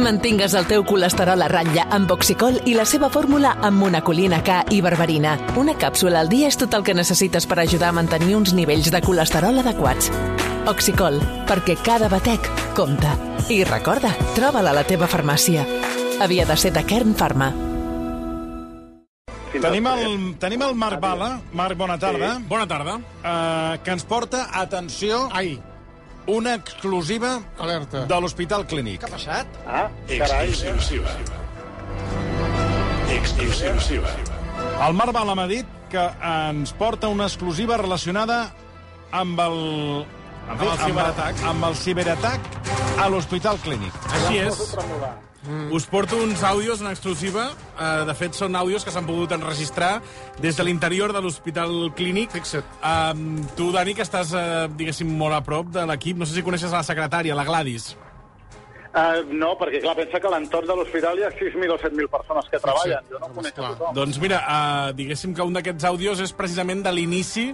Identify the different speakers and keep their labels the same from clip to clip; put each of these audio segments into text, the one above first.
Speaker 1: Mantingues el teu colesterol a ratlla amb Oxicol i la seva fórmula amb monacolina K i berberina. Una càpsula al dia és tot el que necessites per ajudar a mantenir uns nivells de colesterol adequats. Oxicol, perquè cada batec compta. I recorda, troba-la a la teva farmàcia. Havia de ser de Kern Pharma.
Speaker 2: Fins Tenim el, tenim el Marc Bala. Marc, bona tarda. Sí.
Speaker 3: Bona tarda.
Speaker 2: Uh, que ens porta, atenció,
Speaker 3: Ai,
Speaker 2: una exclusiva
Speaker 3: Alerta.
Speaker 2: de l'Hospital Clínic.
Speaker 3: què ha passat?
Speaker 4: Ah, carai.
Speaker 5: Exclusiva. Exclusiva.
Speaker 2: El Marc Bala m'ha dit que ens porta una exclusiva relacionada amb el... Amb,
Speaker 3: el ciberatac.
Speaker 2: Amb, amb el ciberatac a l'Hospital Clínic.
Speaker 3: Així és. Mm. Us porto uns àudios en exclusiva. Eh, de fet, són àudios que s'han pogut enregistrar des de l'interior de l'Hospital Clínic.
Speaker 6: Fixa't.
Speaker 3: Um, tu, Dani, que estàs, eh, diguéssim, molt a prop de l'equip, no sé si coneixes la secretària, la Gladys.
Speaker 4: Uh, no, perquè clar, pensa que a l'entorn de l'hospital hi ha 6.000 o 7.000 persones
Speaker 2: Ah,
Speaker 4: que treballen. Jo no
Speaker 6: Home,
Speaker 4: conec
Speaker 6: esclar.
Speaker 4: a tothom.
Speaker 3: Doncs mira, eh, diguéssim que un d'aquests àudios és precisament de l'inici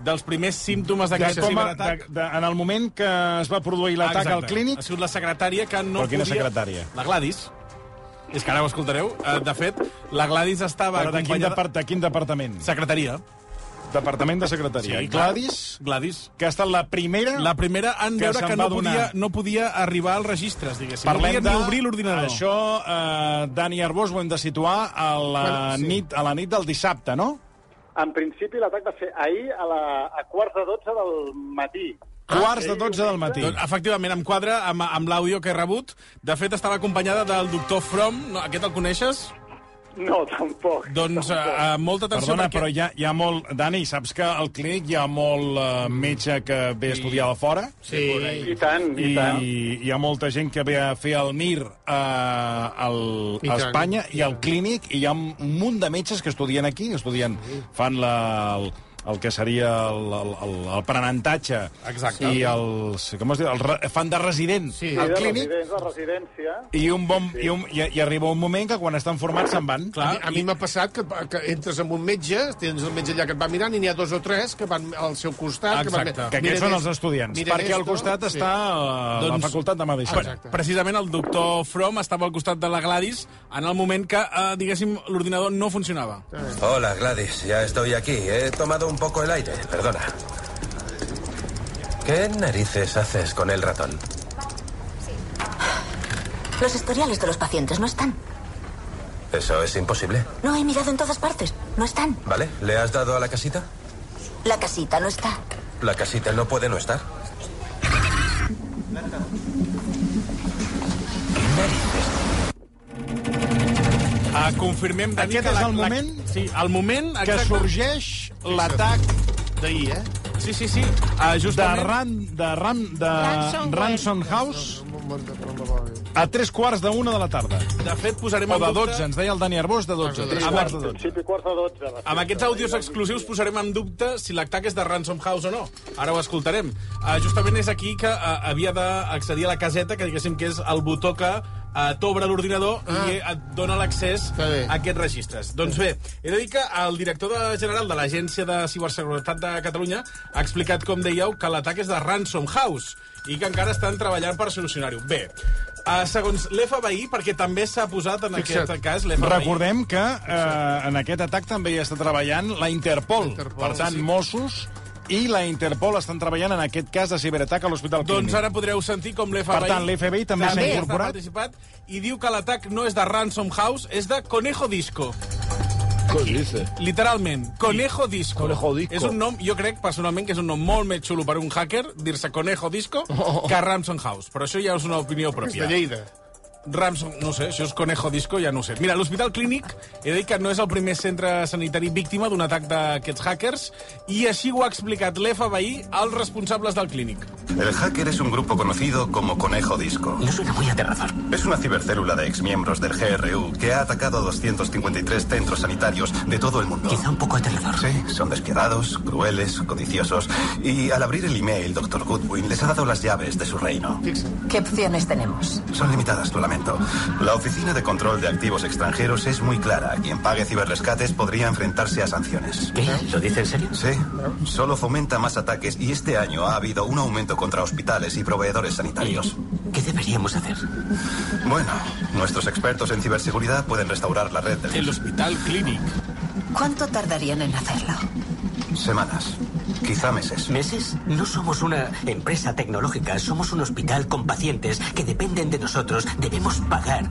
Speaker 3: dels primers símptomes d'aquest
Speaker 2: De com a, de,
Speaker 3: ciberatac.
Speaker 2: de, en el moment que es va produir l'atac
Speaker 3: Ah, Exacte.
Speaker 2: al Clínic,
Speaker 3: Ha sigut la secretària que no
Speaker 2: Però quina
Speaker 3: podia...
Speaker 2: secretària?
Speaker 3: La Gladys. És que ara ho escoltareu. Eh, De fet, la Gladys estava
Speaker 2: però de quin,
Speaker 3: acompanyada...
Speaker 2: depart de quin departament?
Speaker 3: Secretaria.
Speaker 2: Departament de Secretaria.
Speaker 3: Sí, clar.
Speaker 2: Gladys,
Speaker 3: Gladys.
Speaker 2: que ha estat la primera...
Speaker 3: La primera en
Speaker 2: Que
Speaker 3: veure
Speaker 2: se'n
Speaker 3: que
Speaker 2: va
Speaker 3: no podia,
Speaker 2: donar.
Speaker 3: no podia arribar als registres, diguéssim. no podia ni obrir l'ordinador.
Speaker 2: Això, eh, Dani Arbós, ho hem de situar a la,
Speaker 6: Bueno, sí.
Speaker 2: nit, a la nit del dissabte, no?
Speaker 4: En principi l'atac va ser ahir a, la, a quarts de 12 del matí.
Speaker 2: Ah, Quarts de 12 del matí.
Speaker 3: Ah, Doncs, efectivament, em quadra amb, amb l'àudio que he rebut. De fet, estava acompanyada del doctor From. No, aquest el coneixes?
Speaker 4: No, tampoc.
Speaker 3: Doncs eh,
Speaker 4: tampoc.
Speaker 3: eh, molta atenció
Speaker 2: Perdona,
Speaker 3: perquè...
Speaker 2: però hi ha, hi ha molt... Dani, saps que al clínic hi ha molt eh, metge que ve a estudiar de fora?
Speaker 6: Sí.
Speaker 4: I tant, i,
Speaker 2: I,
Speaker 4: tant.
Speaker 2: hi ha molta gent que ve a fer el MIR a, al,
Speaker 6: I
Speaker 2: a
Speaker 6: tant.
Speaker 2: Espanya i al clínic, i hi ha un munt de metges que estudien aquí, estudien, fan la, el, el que seria el- el- el- l'aprenentatge
Speaker 3: Exacte.
Speaker 2: i els, com es diu, el, re- fan de resident
Speaker 6: Sí.
Speaker 4: Sí,
Speaker 2: al
Speaker 4: de
Speaker 2: clínic
Speaker 4: residents, de residència.
Speaker 2: i, un bon, i, un, i, i arriba un moment que quan estan formats se'n van.
Speaker 3: Clar.
Speaker 6: A mi m'ha passat que, que entres amb un metge, tens el metge allà que et va mirant, i n'hi ha dos o tres que van al seu costat.
Speaker 3: Exacte.
Speaker 6: Que, van,
Speaker 2: Que aquests
Speaker 6: Miren
Speaker 2: són els
Speaker 6: esto,
Speaker 2: estudiants,
Speaker 6: miren
Speaker 2: perquè al
Speaker 6: esto.
Speaker 2: costat està eh, la
Speaker 3: Doncs-
Speaker 2: facultat de
Speaker 3: Per-
Speaker 2: Medicina.
Speaker 6: Exacte.
Speaker 3: Precisament el doctor From estava al costat de la Gladys en el moment que, eh, diguéssim, l'ordinador no funcionava.
Speaker 7: Hola Gladys, ya estoy aquí. He tomado un poco el aire, perdona. ¿Qué narices haces con el ratón?
Speaker 8: Los historiales de los pacientes no están.
Speaker 7: Eso es imposible,
Speaker 8: No he mirado en todas partes. No están.
Speaker 7: ¿vale? ¿Le has dado a la casita?
Speaker 8: La casita no está.
Speaker 7: La casita no puede no estar.
Speaker 3: Eh, confirmem, Dani,
Speaker 2: Aquest és
Speaker 3: que la-
Speaker 2: el
Speaker 3: la-
Speaker 2: moment
Speaker 3: Sí, el moment
Speaker 2: Que
Speaker 3: exacte.
Speaker 2: sorgeix l'atac
Speaker 6: D'ahir, eh?
Speaker 3: Sí, sí, sí. Uh,
Speaker 2: de
Speaker 3: justament...
Speaker 2: Ran, de Ram, de
Speaker 9: Ransom
Speaker 2: Ransom House a tres quarts de una de la tarda.
Speaker 3: De fet, posarem
Speaker 2: O
Speaker 3: en
Speaker 2: de
Speaker 3: dubte...
Speaker 2: 12, ens deia el Dani Arbós, de 12. Tres
Speaker 3: Amb-
Speaker 2: quarts de
Speaker 4: En
Speaker 2: 12.
Speaker 4: principi quarts de 12. va ser.
Speaker 3: Amb aquests àudios exclusius posarem en dubte si l'atac és de Ransom House o no. Ara ho escoltarem. Uh, justament és aquí que uh, havia d'accedir a la caseta, que diguéssim que és el botó que uh, t'obre l'ordinador ah. i et dona l'accés
Speaker 6: Està bé.
Speaker 3: a aquests registres. Doncs bé, he de dir que el director de general de l'Agència de Ciberseguretat de Catalunya ha explicat, com dèieu, que l'atac és de Ransom House i que encara estan treballant per solucionar-ho. Bé, uh, segons l'FBI, perquè també s'ha posat en
Speaker 6: Fixa't.
Speaker 3: aquest cas l'FBI...
Speaker 2: Recordem que eh, en aquest atac també hi està treballant la Interpol.
Speaker 6: Interpol,
Speaker 2: Per tant,
Speaker 6: sí.
Speaker 2: Mossos i la Interpol estan treballant en aquest cas de ciberatac a l'Hospital Clínic.
Speaker 3: Doncs ara podreu sentir com l'FBI...
Speaker 2: Per tant, l'FBI també s'ha incorporat.
Speaker 3: participat i diu que l'atac no és de Ransom House, és de Conejo Disco.
Speaker 5: ¿Qué dices?
Speaker 3: Literalment, Conejo Disco.
Speaker 5: Conejo Disco.
Speaker 3: És un nom, jo crec, personalment, que és un nom molt més xulo per un hacker, dir-se Conejo Disco,
Speaker 2: Oh.
Speaker 3: que Ransom House. Però això ja és una opinió
Speaker 6: És de
Speaker 3: pròpia.
Speaker 6: Lleida.
Speaker 3: Ramson, no ho sé, això és Conejo Disco, ja no ho sé. Mira, l'Hospital Clínic, he de dir que no és el primer centre sanitari víctima d'un atac d'aquests hackers, i així ho ha explicat l'FBI als responsables del clínic.
Speaker 10: El hacker es un grupo conocido como Conejo Disco.
Speaker 7: No suena muy aterrador.
Speaker 10: Es una cibercélula de exmiembros del GRU que ha atacado a 253 centros sanitarios de todo el mundo.
Speaker 7: un poco aterrador.
Speaker 10: Sí, son despiadados, crueles, codiciosos. Y al abrir el email, Dr. Goodwin les ha dado las llaves de su reino.
Speaker 6: Fixa't.
Speaker 8: ¿Qué opciones tenemos?
Speaker 10: Son limitadas, lo lamento. La Oficina de Control de Activos Extranjeros es muy clara. Quien pague ciberrescates podría enfrentarse a sanciones.
Speaker 7: ¿Qué? ¿Lo dice en serio?
Speaker 10: Sí, solo fomenta más ataques y este año ha habido un aumento contra hospitales y proveedores sanitarios.
Speaker 7: ¿Qué
Speaker 9: deberíamos hacer?
Speaker 10: Bueno, nuestros expertos en ciberseguridad pueden restaurar la red del
Speaker 3: El Hospital Clinic.
Speaker 8: ¿Cuánto tardarían en hacerlo?
Speaker 10: semanas, quizá meses.
Speaker 9: ¿Meses? No somos una empresa tecnológica, somos un hospital con pacientes que dependen de nosotros. Debemos pagar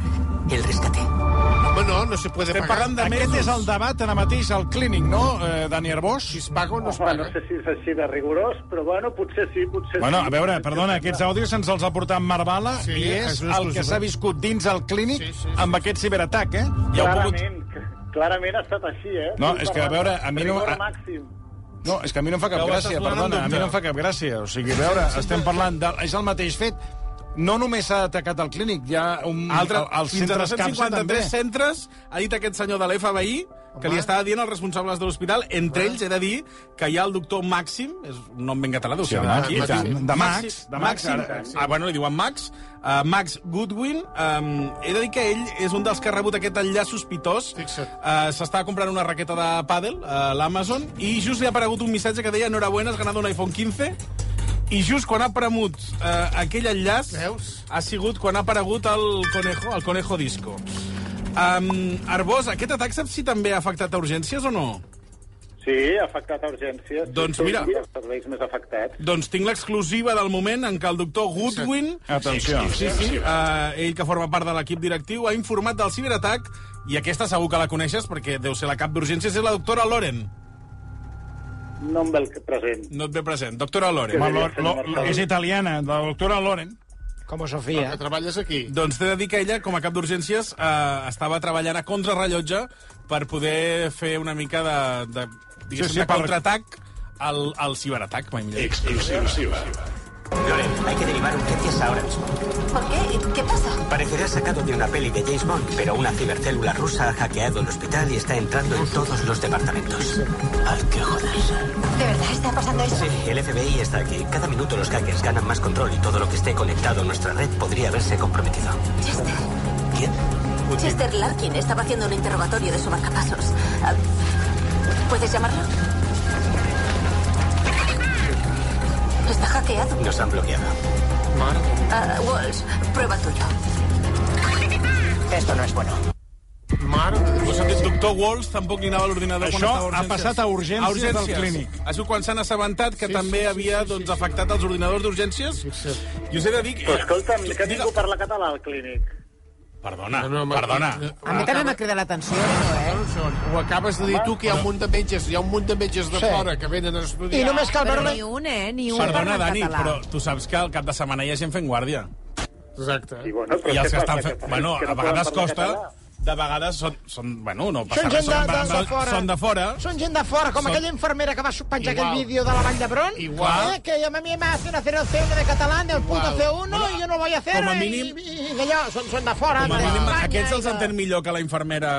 Speaker 9: el rescate.
Speaker 6: Home, no, no se puede
Speaker 2: Estem
Speaker 6: pagar.
Speaker 2: parlant de Aquest és el debat ara mateix al clínic, no, eh, Dani Arbós?
Speaker 6: Si es paga o no es
Speaker 4: Home, no
Speaker 6: paga.
Speaker 4: sé si és així de rigorós, però bueno, potser sí, potser
Speaker 2: Bueno,
Speaker 4: sí.
Speaker 2: a veure,
Speaker 4: Potser
Speaker 2: perdona,
Speaker 4: sí.
Speaker 2: aquests àudios se'ns els ha portat Marvala
Speaker 6: Sí,
Speaker 2: sí, i és
Speaker 6: és una
Speaker 2: el que
Speaker 6: exclusiva.
Speaker 2: s'ha viscut dins el clínic
Speaker 6: Sí,
Speaker 2: sí,
Speaker 6: sí,
Speaker 2: sí,
Speaker 6: sí,
Speaker 2: amb aquest ciberatac, eh? Ja ho puc...
Speaker 4: Clarament, clarament ha estat així, eh?
Speaker 2: No,
Speaker 4: Estem
Speaker 2: és que, a
Speaker 4: parlant
Speaker 2: veure, a mi
Speaker 4: de
Speaker 2: no-
Speaker 4: rigor
Speaker 2: a-
Speaker 4: màxim.
Speaker 2: No, és que a mi no em fa cap
Speaker 3: Ja ho estàs
Speaker 2: gràcia,
Speaker 3: posant en
Speaker 2: perdona, a mi
Speaker 3: dubte.
Speaker 2: no em fa cap gràcia. O sigui, a veure, estem parlant de... És el mateix fet. No només s'ha atacat el clínic, hi ha un...
Speaker 3: Altre,
Speaker 2: el- els
Speaker 3: fins a
Speaker 2: centres CAPSA
Speaker 3: 253
Speaker 2: també.
Speaker 3: centres, ha dit aquest senyor de l'FBI, que li estava dient als responsables de l'hospital, entre ells he de dir que hi ha el doctor Màxim, és un nom ben català, deu
Speaker 2: Sí,
Speaker 3: ser
Speaker 2: home,
Speaker 3: d'aquí,
Speaker 2: i
Speaker 3: es
Speaker 2: tant.
Speaker 3: diu
Speaker 2: De Max, de Max,
Speaker 3: Màxim.
Speaker 2: ara, sí.
Speaker 3: Ah, bueno, li diuen Max. Uh, Max Goodwin. Um, he de dir que ell és un dels que ha rebut aquest enllaç sospitós.
Speaker 6: Fixa't.
Speaker 3: Uh, S'estava comprant una raqueta de pàdel a l'Amazon i just li ha aparegut un missatge que deia enhorabuena, has ganat un iPhone 15. I just quan ha premut eh, aquell enllaç
Speaker 6: Veus?
Speaker 3: ha sigut quan ha aparegut el Conejo, el Conejo Disco. Um, Arbós, aquest atac saps si també ha afectat a urgències o no?
Speaker 4: Sí, ha afectat a urgències.
Speaker 3: Doncs
Speaker 4: Sí, sí,
Speaker 3: mira.
Speaker 4: Els serveis més afectats.
Speaker 3: Doncs tinc l'exclusiva del moment en què el doctor Goodwin...
Speaker 2: Atenció.
Speaker 3: Sí, sí. Uh, ell, que forma part de l'equip directiu, ha informat del ciberatac i aquesta segur que la coneixes perquè deu ser la cap d'urgències, és la doctora Loren.
Speaker 4: No amb el que present.
Speaker 3: No et ve present. Doctora Loren.
Speaker 2: Home, lo, lo, lo, és italiana, la doctora Loren.
Speaker 11: Como
Speaker 6: Però
Speaker 11: Sofía.
Speaker 6: que treballes aquí.
Speaker 3: Doncs t'he de dir que ella, com a cap d'urgències, eh, estava treballant a contrarrellotge per poder fer una mica de, de, diguéssim,
Speaker 2: Sí, sí,
Speaker 3: de
Speaker 2: per-
Speaker 3: contraatac al, al ciberatac. mai millor dit.
Speaker 5: Exclusiva.
Speaker 9: Loren, hay que derivar urgencias ahora mismo.
Speaker 8: ¿Por qué? ¿Qué pasa?
Speaker 9: Parecerá sacado de una peli de James Bond, pero una cibercélula rusa ha hackeado el hospital y está entrando en todos los departamentos. Hay que joderse.
Speaker 8: ¿De verdad está pasando eso?
Speaker 9: Sí, el FBI está aquí. Cada minuto los hackers ganan más control y todo lo que esté conectado a nuestra red podría verse comprometido.
Speaker 8: Chester.
Speaker 9: ¿Quién?
Speaker 8: Chester Larkin estaba haciendo un interrogatorio de su marcapasos. Ah, ¿Puedes llamarlo? Está hackeado.
Speaker 9: Nos han bloqueado.
Speaker 8: Ah, Walsh, prueba tuyo.
Speaker 11: Esto no es bueno.
Speaker 6: Mare de Déu.
Speaker 3: Ho sentit, doctor Walls tampoc li anava a l'ordinador quan
Speaker 2: Això
Speaker 3: estava a urgències.
Speaker 2: ha passat a urgències del clínic.
Speaker 3: Això quan s'han assabentat que també havia doncs, afectat els ordinadors d'urgències. I us he de dir...
Speaker 4: Però escolta'm, que
Speaker 3: Digue-
Speaker 4: ningú parla català al clínic.
Speaker 3: Perdona,
Speaker 6: No, no, ma-
Speaker 3: perdona.
Speaker 11: A mi també m'ha cridat l'atenció, això, eh?
Speaker 6: Ho acabes de dir tu, que hi ha un munt de metges, hi ha un munt de metges de
Speaker 11: Sí.
Speaker 6: fora que venen a estudiar.
Speaker 11: I només cal
Speaker 6: Però
Speaker 11: veure...
Speaker 6: ni
Speaker 11: un, eh? Ni
Speaker 3: Perdona, Dani, però tu saps que al cap de setmana hi ha gent fent guàrdia.
Speaker 6: Exacte.
Speaker 4: I, bueno, però
Speaker 3: I els
Speaker 4: què
Speaker 3: que
Speaker 4: passa?
Speaker 3: estan fent...
Speaker 4: Que-
Speaker 3: Bueno,
Speaker 4: que no
Speaker 3: a
Speaker 4: poden
Speaker 3: vegades
Speaker 4: parlar
Speaker 3: costa...
Speaker 4: català?
Speaker 3: De vegades són... són bueno, no passa
Speaker 11: Són
Speaker 3: res.
Speaker 11: gent de, de, de,
Speaker 3: són,
Speaker 11: fora.
Speaker 3: són de fora.
Speaker 11: Són gent de fora, com
Speaker 3: Són-
Speaker 11: aquella infermera que va penjar
Speaker 6: Igual.
Speaker 11: aquell vídeo de la Vall d'Hebron.
Speaker 2: Ah,
Speaker 6: Igual.
Speaker 11: Eh? Que a mí me hacen hacer el C1 de catalán, el puto
Speaker 6: Igual.
Speaker 11: C1, y yo no voy a hacer...
Speaker 3: com a
Speaker 11: eh,
Speaker 3: mínim-
Speaker 11: I, i, i allò, són, són de fora.
Speaker 3: Com a
Speaker 11: de
Speaker 3: mínim,
Speaker 11: Espanya
Speaker 3: Aquests
Speaker 11: i
Speaker 3: els
Speaker 11: de-
Speaker 3: entén millor que la infermera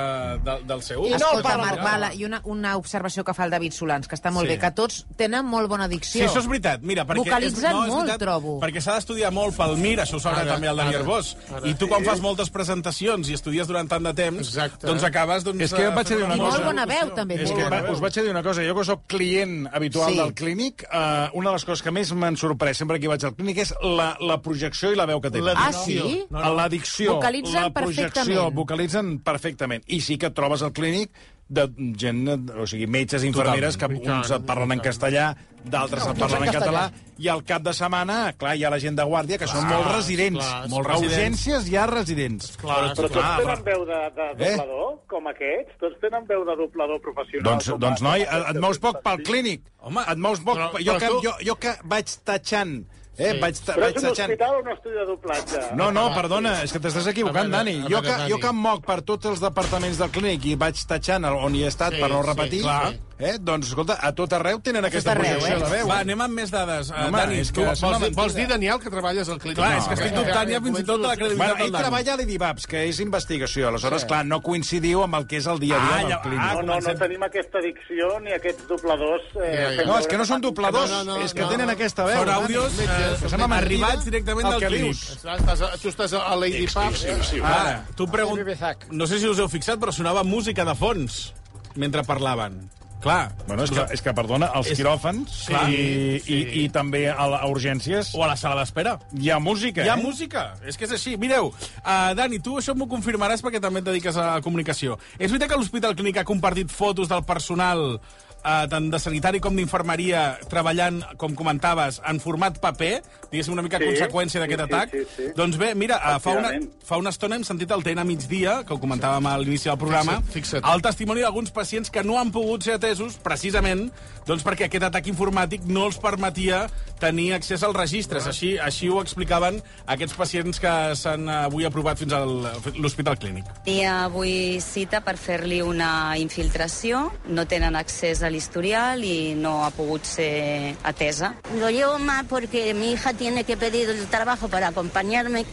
Speaker 3: de, del seu.
Speaker 11: I no
Speaker 3: Escolta,
Speaker 11: parla
Speaker 3: Marc,
Speaker 11: català.
Speaker 3: Bala.
Speaker 12: I una, una observació que fa el David Solans, que està molt
Speaker 3: Sí.
Speaker 12: sí. bé, que tots tenen molt bona
Speaker 3: Sí,
Speaker 12: dicció.
Speaker 3: això és veritat. Mira, perquè
Speaker 12: Vocalitzen molt, trobo.
Speaker 3: Perquè s'ha d'estudiar molt pel MIR, això ho sabrà
Speaker 6: Ara,
Speaker 3: també el Daniel
Speaker 6: ara,
Speaker 3: Bosch.
Speaker 6: ara.
Speaker 3: I tu, quan fas moltes presentacions i estudies durant tant de temps,
Speaker 6: Exacte.
Speaker 3: doncs acabes... Doncs,
Speaker 2: És que jo et vaig
Speaker 3: fent
Speaker 2: dir una
Speaker 12: I
Speaker 2: cosa.
Speaker 12: molt bona veu, també.
Speaker 2: És
Speaker 12: diu.
Speaker 2: que va, us vaig a dir una cosa, jo que sóc client habitual
Speaker 12: Sí.
Speaker 2: sí. del clínic, eh, una de les coses que més m'han sorprès sempre que hi vaig al clínic és la, la projecció i la veu que tenen.
Speaker 12: Ah, sí?
Speaker 2: No, no. L'addicció,
Speaker 12: Vocalitzen
Speaker 2: la projecció,
Speaker 12: perfectament.
Speaker 2: vocalitzen perfectament. I sí que et trobes al clínic de gent, eh, o sigui, metges, infermeres, que uns et parlen en castellà, d'altres et
Speaker 12: tots en
Speaker 2: parlen en català,
Speaker 12: castellà.
Speaker 2: i al cap de setmana, clar, hi ha la gent de guàrdia, que són molt residents.
Speaker 6: clar,
Speaker 2: molt
Speaker 3: residents.
Speaker 2: urgències hi ha residents.
Speaker 6: Clar,
Speaker 4: Però tots
Speaker 3: Clar,
Speaker 4: tenen veu de, de
Speaker 2: Eh?
Speaker 4: doblador, com aquests? Tots tenen veu de doblador professional.
Speaker 2: Doncs,
Speaker 4: com
Speaker 2: doncs
Speaker 4: a-
Speaker 2: noi, et, et mous poc pel clínic.
Speaker 3: Home,
Speaker 2: Home, et mous poc...
Speaker 6: però-
Speaker 2: jo,
Speaker 6: però
Speaker 2: que,
Speaker 6: tu-
Speaker 2: jo, jo que vaig tatxant, eh? Sí. Vaig, ta,
Speaker 4: Però
Speaker 2: vaig
Speaker 4: és un
Speaker 2: tatxant.
Speaker 4: hospital o un estudi de doblatge?
Speaker 2: No, no, perdona, és que t'estàs equivocant,
Speaker 6: Ah, A veure,
Speaker 2: Dani.
Speaker 6: a
Speaker 2: Jo
Speaker 6: veure,
Speaker 2: que, jo
Speaker 6: Dani.
Speaker 2: que em moc per tots els departaments del clínic i vaig tatxant on hi he estat
Speaker 6: Sí,
Speaker 2: per no
Speaker 6: sí,
Speaker 2: repetir,
Speaker 6: clar.
Speaker 2: eh? doncs, escolta, a tot arreu tenen aquesta
Speaker 12: arreu,
Speaker 2: projecció
Speaker 12: eh?
Speaker 2: de veu.
Speaker 3: Va, anem amb més dades. Eh,
Speaker 2: Home,
Speaker 3: Dani,
Speaker 2: és que
Speaker 3: tu
Speaker 2: és una
Speaker 3: vols, dir-
Speaker 2: mentida.
Speaker 6: Vols dir, Daniel, que treballes al clínic?
Speaker 3: Clar, és que estic dubtant ja fins i tot de la
Speaker 2: Bueno,
Speaker 3: credibilitat
Speaker 2: ell
Speaker 3: del Dani.
Speaker 2: treballa a l'IDIVAPS, que és investigació. Aleshores, clar, no coincidiu amb el que és el dia a
Speaker 3: Ah,
Speaker 2: dia
Speaker 3: ja-
Speaker 2: del clínic.
Speaker 3: ah,
Speaker 4: No, no, no tenim aquesta dicció ni aquests dobladors... Eh,
Speaker 6: Ja, ja.
Speaker 4: fent
Speaker 2: No, és
Speaker 4: veure
Speaker 2: que no són
Speaker 4: fan-
Speaker 2: dobladors,
Speaker 6: No, no, no,
Speaker 2: és que
Speaker 6: no,
Speaker 2: tenen
Speaker 6: no.
Speaker 2: aquesta veu.
Speaker 3: Són àudios
Speaker 6: metges,
Speaker 3: eh,
Speaker 2: Que sembla mentida
Speaker 3: arribats directament
Speaker 2: el
Speaker 3: del
Speaker 2: que
Speaker 3: clínic.
Speaker 2: dius.
Speaker 6: Estàs a, tu estàs a Lady Ah, Pub.
Speaker 3: Ara, tu pregun...
Speaker 11: Bezac.
Speaker 3: No sé si us heu fixat, però sonava música de fons mentre parlaven. Clar.
Speaker 2: Bueno, és que, és que perdona, als
Speaker 3: És-
Speaker 2: quiròfans sí,
Speaker 3: Clar.
Speaker 2: i, sí. I, i també a, la, a urgències...
Speaker 3: O a la sala d'espera.
Speaker 2: Hi ha música,
Speaker 3: Hi ha
Speaker 2: eh?
Speaker 3: música, és que és així. Mireu, uh, Dani, tu això m'ho confirmaràs perquè també et dediques a la comunicació. És veritat que l'Hospital Clínic ha compartit fotos del personal uh, tant de sanitari com d'infermeria treballant, com comentaves, en format paper, diguéssim, una mica
Speaker 4: Sí,
Speaker 3: sí, conseqüència d'aquest
Speaker 4: sí, sí,
Speaker 3: atac.
Speaker 4: sí, sí.
Speaker 3: Doncs bé, mira, uh, fa, una,
Speaker 4: Efectivament.
Speaker 3: fa una estona hem sentit el TN a migdia, que ho comentàvem a l'inici del programa,
Speaker 6: Fixa't, fixa't.
Speaker 3: el testimoni d'alguns pacients que no han pogut ser atesos, precisament, doncs perquè aquest atac informàtic no els permetia tenir accés als registres. Així, així ho explicaven aquests pacients que s'han eh, avui aprovat fins a l'Hospital Clínic.
Speaker 13: Tenia avui cita per fer-li una infiltració, no tenen accés a l'historial i no ha pogut ser atesa.
Speaker 14: Lo llevo más porque mi hija tiene que pedir el trabajo para acompañarme.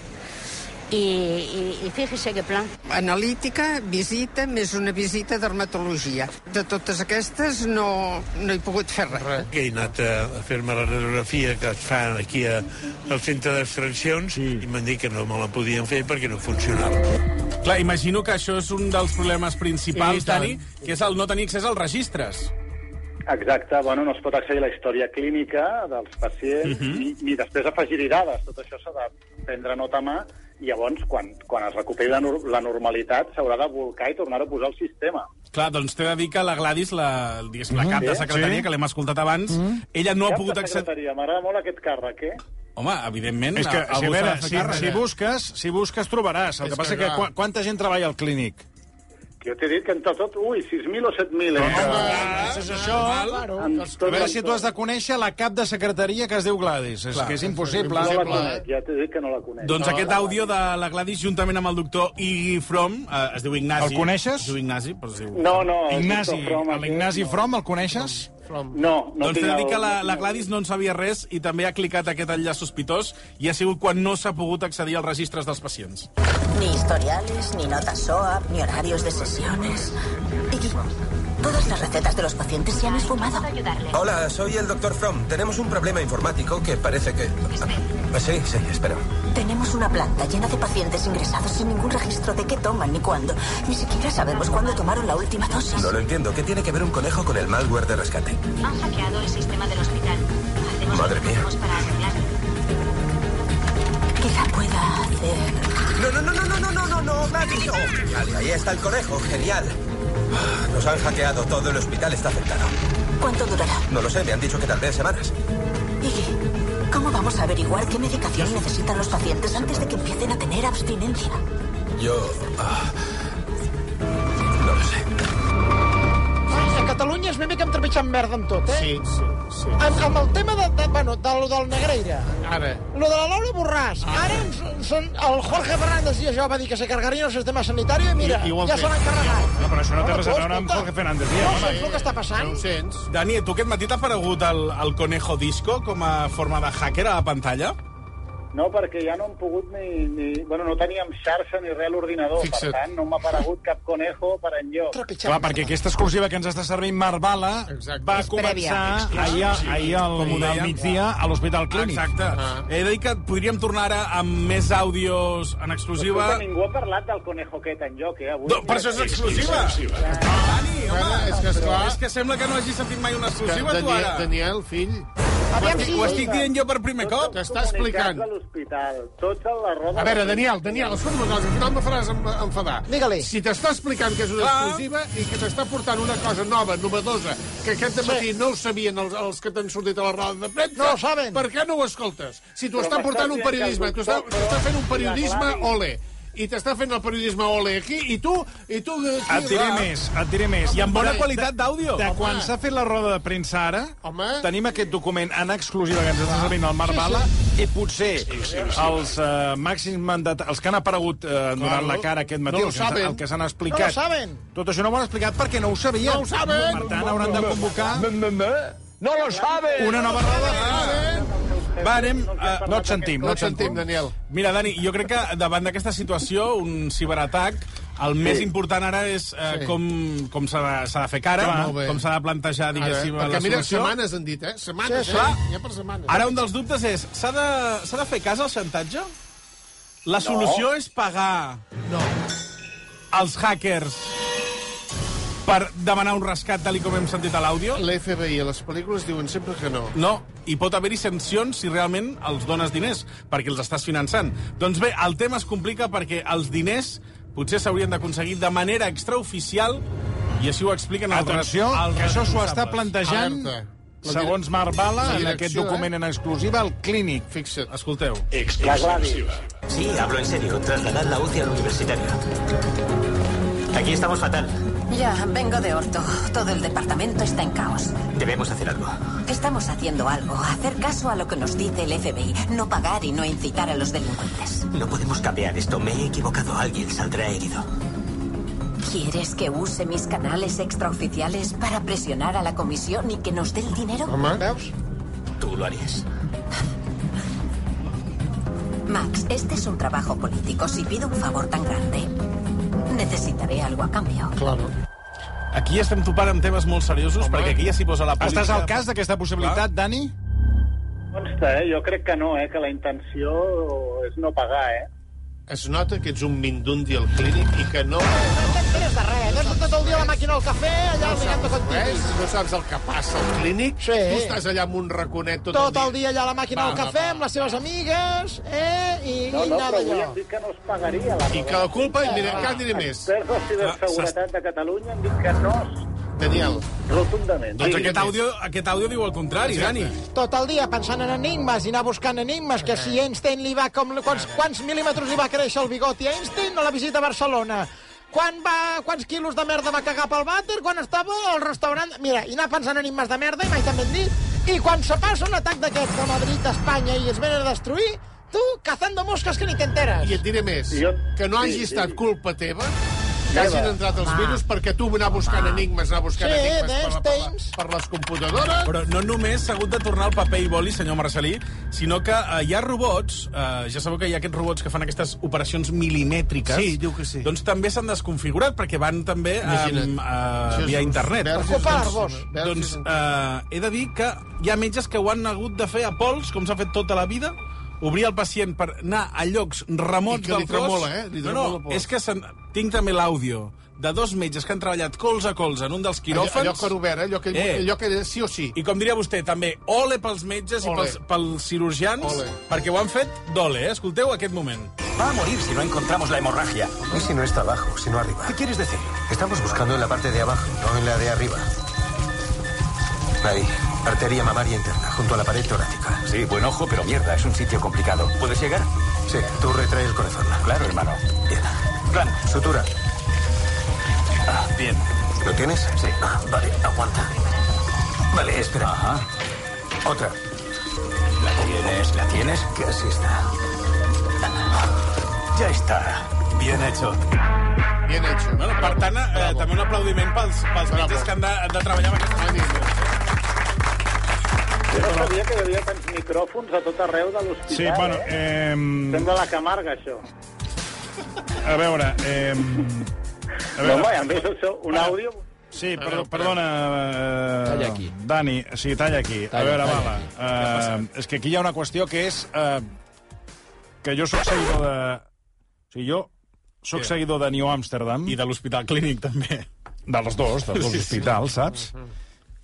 Speaker 14: Y, y- y fíjese qué plan.
Speaker 15: Analítica, visita, més una visita a dermatologia. De totes aquestes no, no he pogut fer res.
Speaker 16: Que he anat a, a fer-me la radiografia que es fa aquí a, al centre d'extraccions sí. i m'han dit que no me la podien fer perquè no funcionava.
Speaker 3: Clar, imagino que això és un dels problemes
Speaker 4: I
Speaker 3: principals,
Speaker 4: tant.
Speaker 3: Dani, que és el no tenir accés als registres.
Speaker 4: Exacte, bueno, no es pot accedir a la història clínica dels pacients uh
Speaker 3: Mhm.
Speaker 4: -huh. i, i després afegir-hi dades. Tot això s'ha de prendre nota a mà i llavors, quan, quan es recuperi la, nor- la normalitat, s'haurà de volcar i tornar a posar el sistema.
Speaker 3: Clar, doncs t'he de dir que la Gladys, la, diguéssim, la
Speaker 4: Mhm.
Speaker 3: cap de
Speaker 4: Sí,
Speaker 3: secretaria,
Speaker 4: sí.
Speaker 3: que l'hem escoltat abans, ella no ha
Speaker 4: Cap
Speaker 3: pogut
Speaker 4: de
Speaker 3: accedir...
Speaker 4: secretaria, M'agrada molt aquest càrrec, eh?
Speaker 3: Home, evidentment...
Speaker 2: És que,
Speaker 3: algú
Speaker 2: si, a
Speaker 3: s'ha
Speaker 2: veure,
Speaker 3: de fer
Speaker 2: si,
Speaker 3: càrrec. eh?
Speaker 2: si, busques, si busques trobaràs. El
Speaker 4: És
Speaker 2: que passa
Speaker 4: que
Speaker 2: que,
Speaker 4: clar.
Speaker 2: que quanta gent treballa al clínic?
Speaker 4: Que jo t'he dit que entre tot, ui, 6.000 o 7.000, eh?
Speaker 2: Home, és Ah, això.
Speaker 4: En
Speaker 2: A
Speaker 4: tot,
Speaker 2: veure
Speaker 4: en
Speaker 2: si
Speaker 4: tot.
Speaker 2: tu has de conèixer la cap de secretaria que es diu Gladys. És
Speaker 3: Clar.
Speaker 2: que és impossible.
Speaker 4: No la conec, ja t'he dit que no la conec.
Speaker 3: Doncs
Speaker 4: No,
Speaker 3: aquest
Speaker 4: la-
Speaker 3: àudio de la Gladys, juntament amb el doctor Iggy From, eh, es diu Ignasi.
Speaker 2: El coneixes?
Speaker 3: Es diu Ignasi, però es diu...
Speaker 4: No, no, el
Speaker 2: Ignasi,
Speaker 4: doctor Fromm, aquest,
Speaker 2: l'Ignasi
Speaker 4: eh? no.
Speaker 2: From, el coneixes?
Speaker 4: No, no
Speaker 3: doncs t'he
Speaker 4: tinc
Speaker 3: de dir
Speaker 4: el-
Speaker 3: que la,
Speaker 4: no tinc
Speaker 3: la
Speaker 4: el-
Speaker 3: Gladys no en sabia res i també ha clicat aquest enllaç sospitós i ha sigut quan no s'ha pogut accedir als registres dels pacients.
Speaker 8: Ni historiales, ni notas SOAP, ni horarios de sesiones. Iggy, todas las recetas de los pacientes se han esfumado.
Speaker 7: Hola, soy el doctor Fromm. Tenemos un problema informático que parece que... Ah, Sí, sí, espera.
Speaker 8: Tenemos una planta llena de pacientes ingresados sin ningún registro de qué toman ni cuándo. Ni siquiera sabemos cuándo tomaron la última dosis.
Speaker 7: No lo entiendo. ¿Qué tiene que ver un conejo con el malware de rescate?
Speaker 17: Han hackeado el sistema del hospital. Hacemos
Speaker 7: Madre
Speaker 17: lo que
Speaker 7: mía.
Speaker 17: podemos para arreglarlo.
Speaker 8: Quizá pueda hacer...
Speaker 7: No, no, no, no, no, no, no, no, no, Gladys, no. Vale, ahí está el conejo. Genial. Ah, Nos han hackeado. Todo el hospital está afectado.
Speaker 8: ¿Cuánto durará?
Speaker 7: No lo sé. Me han dicho que tal vez semanas.
Speaker 8: Iggy, ¿cómo vamos a averiguar qué medicación necesitan los pacientes antes de que empiecen a tener abstinencia?
Speaker 7: Yo... ah, No lo sé.
Speaker 11: A Catalunya és una mica hem trepitjat merda amb tot, eh?
Speaker 6: Sí, sí, sí.
Speaker 11: Amb, amb el tema de, de, bueno, de lo del Negreira.
Speaker 6: Ara.
Speaker 11: Lo de la Laura Borràs. Ara ens, són, el Jorge Fernández i jo va dir que se cargarien el sistema sanitari i mira,
Speaker 2: I- i ho han
Speaker 11: ja
Speaker 2: fet.
Speaker 11: se l'han carregat.
Speaker 2: No, però això no té
Speaker 11: Home,
Speaker 2: res a
Speaker 11: tu,
Speaker 2: veure amb
Speaker 11: escolta,
Speaker 2: Jorge Fernández.
Speaker 11: No
Speaker 2: Ja,
Speaker 11: saps el que està passant? No ho sents.
Speaker 3: Dani, tu aquest matí t'ha aparegut el, el Conejo Disco com a forma de hacker a la pantalla?
Speaker 4: No, perquè ja no hem pogut ni... ni bueno, no teníem xarxa ni res a l'ordinador. Per
Speaker 2: Fixa't.
Speaker 4: tant, no m'ha aparegut cap conejo per enlloc.
Speaker 2: Clar, perquè aquesta exclusiva que ens està servint Marbala va
Speaker 4: És prèvia.
Speaker 2: començar ahir,
Speaker 3: Sí, sí.
Speaker 2: ahir al,
Speaker 3: Com ho
Speaker 2: al
Speaker 3: deia.
Speaker 2: migdia a l'Hospital Clínic.
Speaker 3: Exacte. Ah. He de dir que podríem tornar ara amb més àudios en exclusiva.
Speaker 4: Escolta, ningú ha parlat del conejo aquest enlloc, eh, avui.
Speaker 3: No, per això és exclusiva. Dani, home, és que,
Speaker 4: esclar.
Speaker 3: és que sembla que no hagis sentit mai una exclusiva, tu,
Speaker 6: Daniel,
Speaker 3: ara.
Speaker 6: Daniel, fill...
Speaker 3: Ho estic, ho estic dient jo per primer cop.
Speaker 6: T'està explicant.
Speaker 4: Comunicats a l'hospital, tots a la roda...
Speaker 6: A veure, Daniel, Daniel, escolta'm una cosa, al final me faràs em- enfadar. Digue-li. Si t'està explicant que és una
Speaker 4: Clar.
Speaker 6: exclusiva i que t'està portant una cosa nova, novedosa, que aquest matí sí. no ho sabien els, els que t'han sortit a la roda de premsa... No ho saben. Per què no ho escoltes? Si t'ho
Speaker 4: Però
Speaker 6: està
Speaker 4: m'estàs
Speaker 6: portant un
Speaker 4: dient que el
Speaker 6: periodisme, t'ho està,
Speaker 4: doctor
Speaker 6: t'ho està fent un
Speaker 4: Ferrer i la
Speaker 6: periodisme
Speaker 4: Gladys-
Speaker 6: ole, i t'està fent el periodisme ole aquí, i tu... I tu eh, aquí,
Speaker 2: Et diré
Speaker 6: va.
Speaker 2: més, et diré més.
Speaker 6: I amb bona qualitat
Speaker 3: d'àudio.
Speaker 2: De quan
Speaker 6: Home.
Speaker 2: s'ha fet la roda de premsa ara,
Speaker 6: Home.
Speaker 2: tenim aquest document en exclusiva que ens està servint el Marc
Speaker 6: Sí, sí.
Speaker 2: Bala i potser els eh, màxims mandat, els que han aparegut eh, han donat la cara aquest matí,
Speaker 6: No ho
Speaker 2: els que ens-
Speaker 6: saben.
Speaker 2: el que s'han
Speaker 6: No
Speaker 2: explicat.
Speaker 6: ho saben.
Speaker 2: Tot això no ho han explicat perquè no ho sabien.
Speaker 6: No ho saben.
Speaker 2: Per tant, hauran de convocar...
Speaker 6: No lo saben.
Speaker 2: Una nova roda.
Speaker 3: Va, anem... eh,
Speaker 2: No et sentim, no et sentim,
Speaker 6: Daniel.
Speaker 3: Mira, Dani, jo crec que davant d'aquesta situació, un ciberatac, el més important ara és eh,
Speaker 6: Sí.
Speaker 3: com, com s'ha de, s'ha de fer cara,
Speaker 6: Clar. Molt bé.
Speaker 3: com s'ha de plantejar, diguéssim,
Speaker 6: Ara, perquè
Speaker 3: la
Speaker 6: mira,
Speaker 3: solució.
Speaker 6: setmanes han dit, eh? Setmanes,
Speaker 3: Sí,
Speaker 6: sí,
Speaker 3: sí.
Speaker 6: eh? Hi ha per setmanes.
Speaker 3: Ara un dels dubtes és, s'ha de, s'ha de fer cas al xantatge? La solució és pagar... No. Els hackers. per demanar un rescat tal i com hem sentit a l'àudio?
Speaker 6: L'FBI a les pel·lícules diuen sempre que no.
Speaker 3: No, hi pot haver-hi sancions si realment els dones diners, perquè els estàs finançant. Doncs bé, el tema es complica perquè els diners potser s'haurien d'aconseguir de manera extraoficial i així ho expliquen els
Speaker 2: Atenció,
Speaker 3: res- els
Speaker 2: que això s'ho està
Speaker 3: responsables.
Speaker 2: plantejant,
Speaker 3: Alerta. La direc-
Speaker 2: segons Marc Bala,
Speaker 3: La
Speaker 2: en
Speaker 3: direcció, eh?
Speaker 2: aquest document en exclusiva, el Clínic.
Speaker 6: Fixa't.
Speaker 3: Escolteu.
Speaker 9: Sí, hablo en serio. Trasladad la UCI al universitario. Aquí estamos fatal.
Speaker 8: Ya, vengo de orto. Todo el departamento está en caos.
Speaker 9: Debemos hacer algo.
Speaker 8: Estamos haciendo algo. Hacer caso a lo que nos dice el FBI. No pagar y no incitar a los delincuentes.
Speaker 9: No podemos cambiar esto. Me he equivocado. Alguien saldrá herido.
Speaker 8: ¿Quieres que use mis canales extraoficiales para presionar a la comisión y que nos dé el dinero?
Speaker 6: veus?
Speaker 9: Tú lo harías.
Speaker 8: Max, este es un trabajo político. Si pido un favor tan grande, necesitaré algo a cambio.
Speaker 6: Claro.
Speaker 3: Aquí estem topant amb temes molt seriosos, Home. perquè aquí ja s'hi posa la política...
Speaker 2: Estàs al cas d'aquesta possibilitat, Dani?
Speaker 4: Consta, eh? Jo crec que no, eh? Que la intenció és no pagar, eh?
Speaker 6: Es nota que ets un mindundi al clínic i que no...
Speaker 11: Tens de res, no tot el dia a la màquina del cafè, allà al mirant de
Speaker 6: Ves?
Speaker 11: contigo.
Speaker 6: No saps el que passa al clínic?
Speaker 11: Sí.
Speaker 6: Tu estàs allà amb un raconet tot,
Speaker 11: Tot el dia allà a la màquina
Speaker 6: Va,
Speaker 11: del
Speaker 6: va,
Speaker 11: cafè,
Speaker 6: va.
Speaker 11: amb les seves amigues, eh? I,
Speaker 4: No,
Speaker 11: i
Speaker 4: no,
Speaker 11: nada
Speaker 4: però avui han
Speaker 11: allò.
Speaker 4: dit que no es pagaria la
Speaker 6: I que la culpa, mira, encara diré més.
Speaker 4: Experts de ciberseguretat de Catalunya han dit que no,
Speaker 6: Daniel.
Speaker 4: rotundament.
Speaker 3: Doncs
Speaker 4: Sí.
Speaker 3: aquest àudio, aquest àudio diu el contrari, Dani.
Speaker 11: Tot el dia pensant en enigmes i anar buscant enigmes, que si Einstein li va... Com, quants, quants mil·límetres li va créixer el bigoti a Einstein a la visita a Barcelona? Quan va, quants quilos de merda va cagar pel vàter? Quan estava al restaurant... Mira, i anar pensant en enigmes de merda, i mai també et dit. I quan se passa un atac d'aquests de Madrid a Espanya i es venen a destruir, tu, cazando mosques que ni t'enteres.
Speaker 6: I et diré més,
Speaker 4: Jo-
Speaker 6: que no
Speaker 4: sí,
Speaker 6: hagi
Speaker 4: sí.
Speaker 6: estat culpa teva que hagin
Speaker 4: Meva.
Speaker 6: entrat els
Speaker 4: Va.
Speaker 6: virus perquè tu anar buscant enigmes, anar buscant
Speaker 11: Sí,
Speaker 6: enigmes per, per,
Speaker 11: d'Einsteins.
Speaker 6: per, les computadores...
Speaker 3: Però no només s'ha hagut de tornar el paper i boli, senyor Marcelí, sinó que eh, hi ha robots, eh, ja sabeu que hi ha aquests robots que fan aquestes operacions milimètriques.
Speaker 16: Sí, diu que sí.
Speaker 3: Doncs també s'han desconfigurat, perquè van també
Speaker 6: Imagina't.
Speaker 3: um, uh,
Speaker 6: Jesús,
Speaker 3: via internet.
Speaker 6: verges
Speaker 11: Preocupar-vos.
Speaker 6: verges
Speaker 3: Doncs
Speaker 6: en-
Speaker 3: eh, he de dir que hi ha metges que ho han hagut de fer a pols, com s'ha fet tota la vida, obrir el pacient per anar a llocs remots
Speaker 6: I que li
Speaker 3: del cos...
Speaker 6: tremola, eh? Li
Speaker 3: no,
Speaker 6: tremola
Speaker 3: no,
Speaker 6: pols.
Speaker 3: és que se'n... tinc també l'àudio de dos metges que han treballat colze a colze en un dels
Speaker 6: Allò,
Speaker 3: quiròfans...
Speaker 6: allò cor obert, eh? allò que,
Speaker 3: Eh.
Speaker 6: allò que sí o sí.
Speaker 3: I com diria vostè, també, ole pels metges
Speaker 6: Ole.
Speaker 3: i pels, pels cirurgians,
Speaker 6: Ole.
Speaker 3: perquè ho han fet d'ole, eh? Escolteu aquest moment.
Speaker 9: Va a morir si no encontramos la hemorragia.
Speaker 7: Y si no está abajo, si no arriba.
Speaker 9: ¿Qué quieres decir?
Speaker 7: Estamos buscando en la parte de abajo, no en la de arriba. Ahí, arteria mamaria interna, junto a la pared torácica.
Speaker 9: Sí, buen ojo, pero mierda, es un sitio complicado. ¿Puedes llegar?
Speaker 7: Sí, tú retrae el corazón.
Speaker 9: Claro, hermano.
Speaker 7: Bien.
Speaker 9: Plan.
Speaker 7: Sutura.
Speaker 9: Ah, bien.
Speaker 7: ¿Lo tienes?
Speaker 9: Sí.
Speaker 7: Ah, vale, aguanta. Vale, espera. Otra.
Speaker 9: ¿La tienes? ¿La tienes?
Speaker 7: Casi está.
Speaker 9: Ya está. Bien hecho.
Speaker 6: Bien hecho.
Speaker 3: Bueno, per tant, eh, també un aplaudiment pels, pels metges que han de, han de treballar amb aquestes condicions.
Speaker 4: Jo no sabia que hi havia tants micròfons a tot arreu de l'hospital,
Speaker 2: Sí, bueno,
Speaker 4: eh?
Speaker 2: eh,
Speaker 4: Sembla la Camarga, això.
Speaker 2: a veure... Eh, a
Speaker 4: No, home,
Speaker 2: veure
Speaker 4: a més, això, un
Speaker 2: Ara.
Speaker 4: àudio...
Speaker 2: sí, per, perdona... Eh,
Speaker 18: Talla aquí.
Speaker 2: Dani, sí, talla aquí.
Speaker 18: Talla,
Speaker 2: a veure,
Speaker 18: talla
Speaker 2: Bala, eh, és que aquí hi ha una qüestió que és... Eh, que jo sóc seguidor de... O sigui, jo sóc
Speaker 3: Què?
Speaker 2: seguidor de New Amsterdam.
Speaker 3: I de l'Hospital Clínic, també.
Speaker 2: dels dos, dels dos
Speaker 3: Sí, sí.
Speaker 2: hospitals, saps?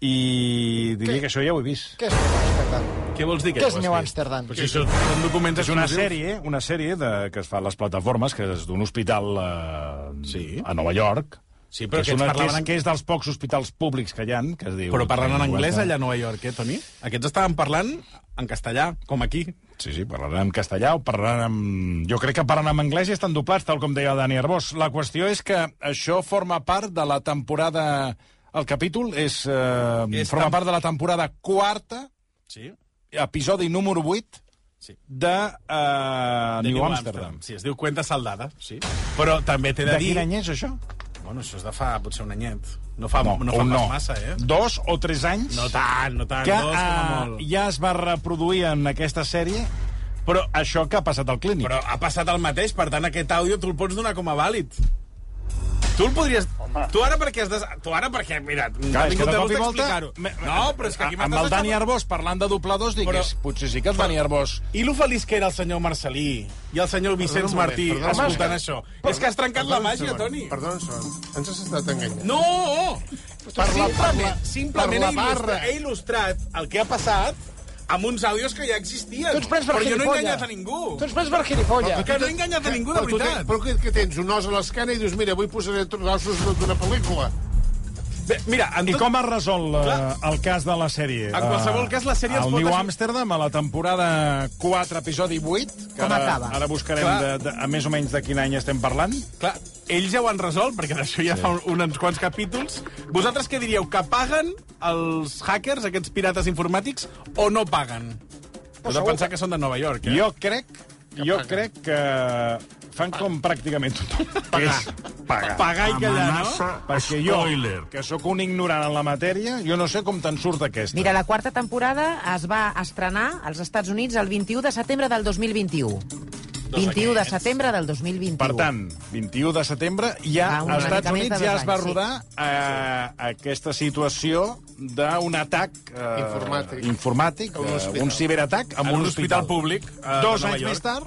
Speaker 2: I diria que això ja ho he vist.
Speaker 11: Què és New Amsterdam?
Speaker 3: Què vols dir?
Speaker 11: Què és New Amsterdam?
Speaker 3: Però si això són documents
Speaker 2: És una
Speaker 3: exclusius.
Speaker 2: sèrie, una sèrie de, que es fa a les plataformes, que és d'un hospital eh, sí. a Nova York.
Speaker 3: Sí, però
Speaker 2: que,
Speaker 3: aquests
Speaker 2: és una, que,
Speaker 3: parlaven
Speaker 2: és,
Speaker 3: en-
Speaker 2: que és dels pocs hospitals públics que hi ha, que es diu...
Speaker 3: Però parlen en anglès allà a Nova York, eh, Toni? Aquests estaven parlant en castellà, com aquí.
Speaker 2: Sí, sí, parlaran en castellà o parlaran en... Jo crec que parlen en anglès i estan doblats, tal com deia el Dani Arbós. La qüestió és que això forma part de la temporada... El capítol és, eh,
Speaker 3: És
Speaker 2: forma
Speaker 3: tam-
Speaker 2: part de la temporada quarta,
Speaker 3: Sí?
Speaker 2: episodi número 8,
Speaker 3: Sí.
Speaker 2: de, eh, New, Amsterdam.
Speaker 3: Sí, es diu Cuenta Saldada, sí. Però també t'he de,
Speaker 2: De
Speaker 3: dir...
Speaker 2: quin any és, això?
Speaker 3: Bueno, això és de fa potser un anyet. No fa, no,
Speaker 2: No,
Speaker 3: no
Speaker 2: o
Speaker 3: fa
Speaker 2: no.
Speaker 3: pas massa, eh?
Speaker 2: Dos o tres anys
Speaker 3: No tant, no
Speaker 2: que
Speaker 3: tant. dos, com a
Speaker 2: eh,
Speaker 3: molt.
Speaker 2: ja es va reproduir en aquesta sèrie però això que ha passat al clínic.
Speaker 3: Però ha passat el mateix, per tant, aquest àudio tu el pots donar com a vàlid. Tu el podries... Tu ara perquè has de... Tu ara perquè, mira,
Speaker 2: Clar,
Speaker 3: m'ha
Speaker 2: és que de
Speaker 3: vingut de
Speaker 2: cop i
Speaker 3: gust
Speaker 2: volta...
Speaker 3: explicar-ho.
Speaker 2: me-
Speaker 3: No, però és que aquí
Speaker 2: Amb
Speaker 3: m'estàs
Speaker 2: el Dani
Speaker 3: xafant.
Speaker 2: Arbós, parlant de dobladors, digués,
Speaker 3: Però-
Speaker 2: potser sí que el Dani
Speaker 3: Però-
Speaker 2: Arbós...
Speaker 3: I lo feliç que era el senyor Marcelí i el senyor Vicenç
Speaker 6: Perdona un moment,
Speaker 3: Martí
Speaker 6: perdona un moment.
Speaker 3: escoltant això.
Speaker 6: Perdona-
Speaker 3: És que has trencat la
Speaker 6: perdona un
Speaker 3: màgia,
Speaker 6: segon,
Speaker 3: Toni.
Speaker 6: Perdona un segon. Ens has estat enganyant.
Speaker 3: No!
Speaker 6: Parla- parla-
Speaker 3: simplement, simplement he,
Speaker 6: parla
Speaker 3: il·lustrat,
Speaker 6: barra.
Speaker 3: he il·lustrat el que ha passat amb uns àudios que ja existien.
Speaker 6: Tu ens prens per
Speaker 3: Però jo no he
Speaker 6: gilipolla.
Speaker 3: enganyat a ningú.
Speaker 6: Tu ens prens per gilipolla.
Speaker 3: Que no he enganyat a ningú, de
Speaker 6: Però tu
Speaker 3: veritat.
Speaker 6: tens- Però que, que tens un os a l'escana i dius, mira, avui posaré trossos d'una pel·lícula.
Speaker 3: Bé, mira, en
Speaker 2: I
Speaker 3: tot-
Speaker 2: com has resolt eh,
Speaker 3: Clar.
Speaker 2: el cas de la sèrie? Ah,
Speaker 3: En qualsevol cas, la sèrie ens
Speaker 2: El
Speaker 3: pot
Speaker 2: New
Speaker 3: ajudar.
Speaker 2: Amsterdam, a la temporada 4, episodi 8, que
Speaker 3: Com
Speaker 2: ara,
Speaker 3: acaba?
Speaker 2: ara buscarem de,
Speaker 3: Clar.
Speaker 2: de, a més o menys de quin any estem parlant.
Speaker 3: Clar, ells ja ho han resolt, perquè d'això ja fa un, uns quants capítols. Vosaltres què diríeu? Que paguen els hackers, aquests pirates informàtics, o no paguen? Heu de
Speaker 2: segur
Speaker 3: pensar que són de Nova York, eh?
Speaker 2: Jo crec, jo crec que fan com pràcticament tothom. que és Pagar.
Speaker 3: Pagar i callar, no? Amenaça,
Speaker 2: Perquè jo,
Speaker 3: spoiler.
Speaker 2: que sóc un ignorant en la matèria, jo no sé com te'n surt aquesta.
Speaker 12: Mira, la quarta temporada es va estrenar als Estats Units el 21 de setembre del 2021. 21 de
Speaker 2: d'aquests.
Speaker 12: setembre del 2021.
Speaker 2: Per tant, 21 de setembre, ja
Speaker 12: Fa una
Speaker 2: als Estats
Speaker 12: mica més de
Speaker 2: Units
Speaker 12: dos
Speaker 2: ja es va
Speaker 12: anys, sí.
Speaker 2: rodar eh, aquesta situació d'un atac eh,
Speaker 6: Informàtic.
Speaker 2: informàtic
Speaker 6: A un
Speaker 2: eh,
Speaker 6: hospital.
Speaker 2: un ciberatac
Speaker 3: En
Speaker 2: amb
Speaker 3: un hospital públic, eh,
Speaker 2: Dos
Speaker 3: de Nova
Speaker 2: anys
Speaker 3: York.
Speaker 2: més tard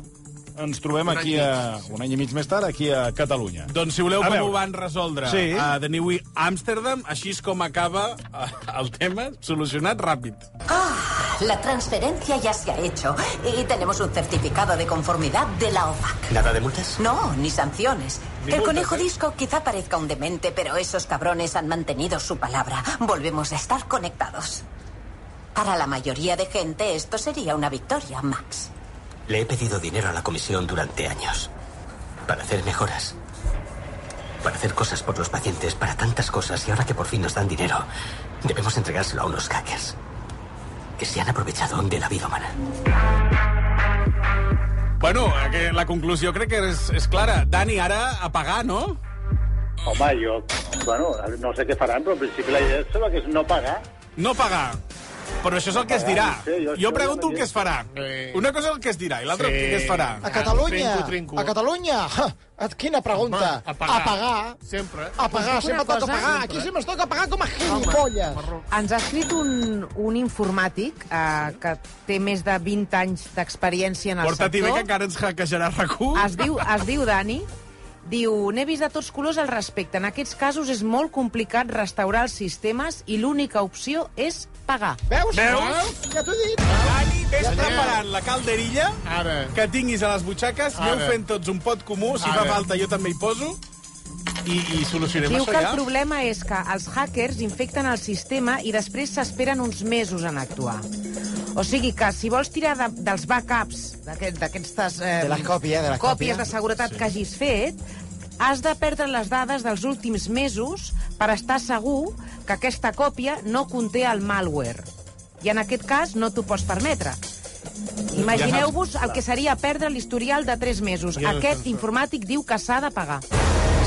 Speaker 2: ens trobem
Speaker 3: Un
Speaker 2: aquí,
Speaker 3: any i
Speaker 2: a, un any i mig més tard, aquí a Catalunya.
Speaker 3: Doncs si voleu
Speaker 2: A
Speaker 3: com
Speaker 2: veure.
Speaker 3: ho van resoldre
Speaker 2: Sí.
Speaker 3: a The New Amsterdam, així és com acaba eh, el tema, solucionat ràpid.
Speaker 8: Ah, la transferencia ya se ha hecho y tenemos un certificado de conformidad de la OFAC.
Speaker 9: ¿Nada de multas?
Speaker 8: No, ni sanciones.
Speaker 9: Ni
Speaker 8: El
Speaker 9: multas,
Speaker 8: conejo
Speaker 9: ¿eh?
Speaker 8: disco quizá parezca un demente, pero esos cabrones han mantenido su palabra. Volvemos a estar conectados. Para la mayoría de gente esto sería una victoria, Max.
Speaker 9: Le he pedido dinero a la comisión durante años. Para hacer mejoras. Para hacer cosas por los pacientes, para tantas cosas. Y ahora que por fin nos dan dinero, debemos entregárselo a unos hackers. Que se han aprovechado de la vida humana.
Speaker 3: Bueno, eh, que la conclusió crec que és, és clara. Dani, ara a pagar, no?
Speaker 4: Home, jo... Bueno, no sé què faran, però al principi la idea em sembla que és no pagar.
Speaker 3: No pagar. Però això és el que es dirà.
Speaker 4: Sí, jo-
Speaker 3: Jo
Speaker 4: jo
Speaker 3: pregunto
Speaker 4: no
Speaker 3: el que es farà. Una cosa és el que es dirà i l'altra
Speaker 6: Sí.
Speaker 3: el que es farà.
Speaker 11: A Catalunya,
Speaker 6: Trinco, trinco.
Speaker 11: a Catalunya, ha, quina pregunta.
Speaker 6: Home, a pagar.
Speaker 11: A pagar.
Speaker 6: Sempre.
Speaker 11: A pagar,
Speaker 12: Us dic
Speaker 11: sempre
Speaker 12: una
Speaker 11: toca
Speaker 12: cosa, eh?
Speaker 11: pagar.
Speaker 12: sempre.
Speaker 11: Aquí sempre es toca pagar com a gilipolles.
Speaker 12: Ens ha escrit un, un informàtic eh, que té més de 20 anys d'experiència en el
Speaker 3: Ah. Porta-t'hi bé
Speaker 12: sector.
Speaker 3: que encara ens hackejarà rac
Speaker 12: Es diu, es diu Dani, diu, n'he vist de tots colors al respecte. En aquests casos és molt complicat restaurar els sistemes i l'única opció és pagar.
Speaker 11: Veus?
Speaker 3: Veus?
Speaker 11: Ja t'ho he dit.
Speaker 3: Dani, vés preparant la calderilla
Speaker 6: Ara.
Speaker 3: que tinguis a les butxaques,
Speaker 6: Ara.
Speaker 3: aneu fent tots un pot comú, si
Speaker 6: Ara.
Speaker 3: fa falta jo també hi poso, i, i solucionem
Speaker 12: Diu
Speaker 3: això
Speaker 12: que el
Speaker 3: ja.
Speaker 12: problema és que els hackers infecten el sistema i després s'esperen uns mesos en actuar. O sigui que si vols tirar de, dels backups, d'aquest- d'aquestes eh,
Speaker 11: De la còpia, de la còpia.
Speaker 12: còpies de seguretat sí. que hagis fet, has de perdre les dades dels últims mesos per estar segur que aquesta còpia no conté el malware. I en aquest cas no t'ho pots permetre. Imagineu-vos el que seria perdre l'historial de 3 mesos.
Speaker 4: Ja,
Speaker 12: Aquest informàtic diu que s'ha de pagar.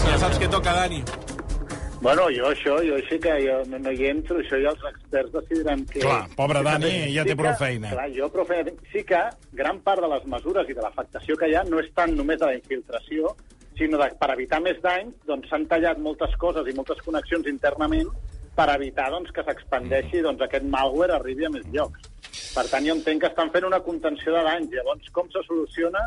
Speaker 3: Ja saps què toca, Dani.
Speaker 4: Bueno, jo això, jo sí que jo no, no hi entro, això ja els experts decidiran que...
Speaker 2: Clar, pobre
Speaker 4: que
Speaker 2: Dani,
Speaker 4: també.
Speaker 2: ja té
Speaker 4: que-
Speaker 2: prou feina.
Speaker 4: Clar, jo prou feina. tinc. Sí que gran part de les mesures i de l'afectació que hi ha no és tant només de la infiltració, sinó de, per evitar més danys, doncs s'han tallat moltes coses i moltes connexions internament per evitar doncs, que s'expandeixi doncs, aquest malware arribi a més llocs. Per tant, jo entenc que estan fent una contenció de danys. Llavors, com se soluciona?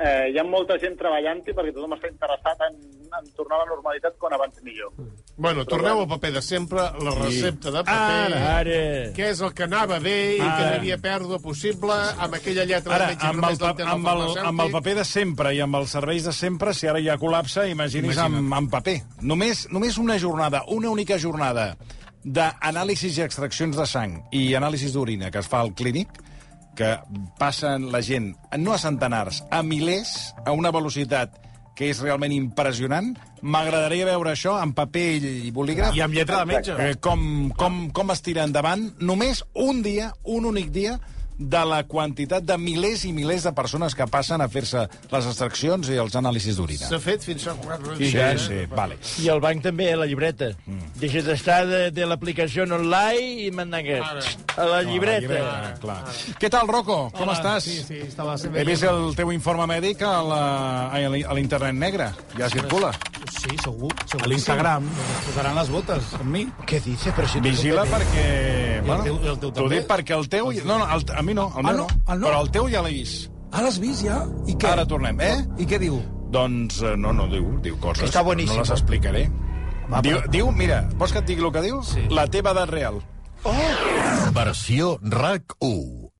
Speaker 4: Eh, hi ha molta gent treballant-hi perquè tothom està interessat en, en tornar a la normalitat quan abans millor.
Speaker 6: Bueno, torneu al paper de sempre, la recepta de paper.
Speaker 2: Ara, ara.
Speaker 6: Què és el que anava bé i que
Speaker 2: Ara.
Speaker 6: no hi havia pèrdua possible amb aquella lletra
Speaker 2: Ara,
Speaker 6: de metge
Speaker 2: amb el,
Speaker 6: només
Speaker 2: pa-
Speaker 6: l'entén
Speaker 2: amb, el,
Speaker 6: farmacèutic?
Speaker 2: amb el paper de sempre i amb els serveis de sempre, si ara ja col·lapsa, imagini's amb, amb paper. Només, només una jornada, una única jornada d'anàlisis i extraccions de sang i anàlisis d'orina que es fa al clínic, que passen la gent, no a centenars, a milers, a una velocitat que és realment impressionant. M'agradaria veure això en paper i bolígraf.
Speaker 3: I amb lletra de metge.
Speaker 2: Eh, com, com, com es tira endavant només un dia, un únic dia, de la quantitat de milers i milers de persones que passen a fer-se les extraccions i els anàlisis d'orina.
Speaker 6: S'ha fet fins a quatre
Speaker 2: Sí, sí, sí,
Speaker 3: eh?
Speaker 2: vale.
Speaker 18: I el banc també, eh, la llibreta. Mm. Deixes d'estar de, de l'aplicació online i mandangues. A la llibreta.
Speaker 2: No,
Speaker 3: Ah,
Speaker 2: la llibreta, clar. Què tal, Rocco? Com
Speaker 18: Hola,
Speaker 2: estàs?
Speaker 18: sí, sí, estava
Speaker 2: He vist el teu informe mèdic a la- a l'internet negre. Ja circula.
Speaker 19: Sí, segur. segur
Speaker 3: A l'Instagram.
Speaker 19: que sí. Doncs es posaran les botes amb mi.
Speaker 11: Què dices? Però si tu-
Speaker 2: Vigila
Speaker 19: tu també. I
Speaker 2: perquè...
Speaker 19: el
Speaker 2: Bueno,
Speaker 19: teu- i el teu
Speaker 2: T'ho
Speaker 19: també?
Speaker 2: dic perquè el teu... No, no, el, a mi no, el
Speaker 19: Ah,
Speaker 2: meu
Speaker 19: no,
Speaker 2: no.
Speaker 19: el no.
Speaker 2: Però el teu ja l'he vist.
Speaker 19: Ah, l'has vist ja? I què?
Speaker 2: Ara tornem, eh?
Speaker 19: I què diu?
Speaker 2: Doncs eh, no, no diu, diu coses.
Speaker 11: Que està boníssim.
Speaker 2: No les explicaré. diu, diu, mira, vols que et digui el que diu? Sí. La teva edat real.
Speaker 20: Versió RAC 1.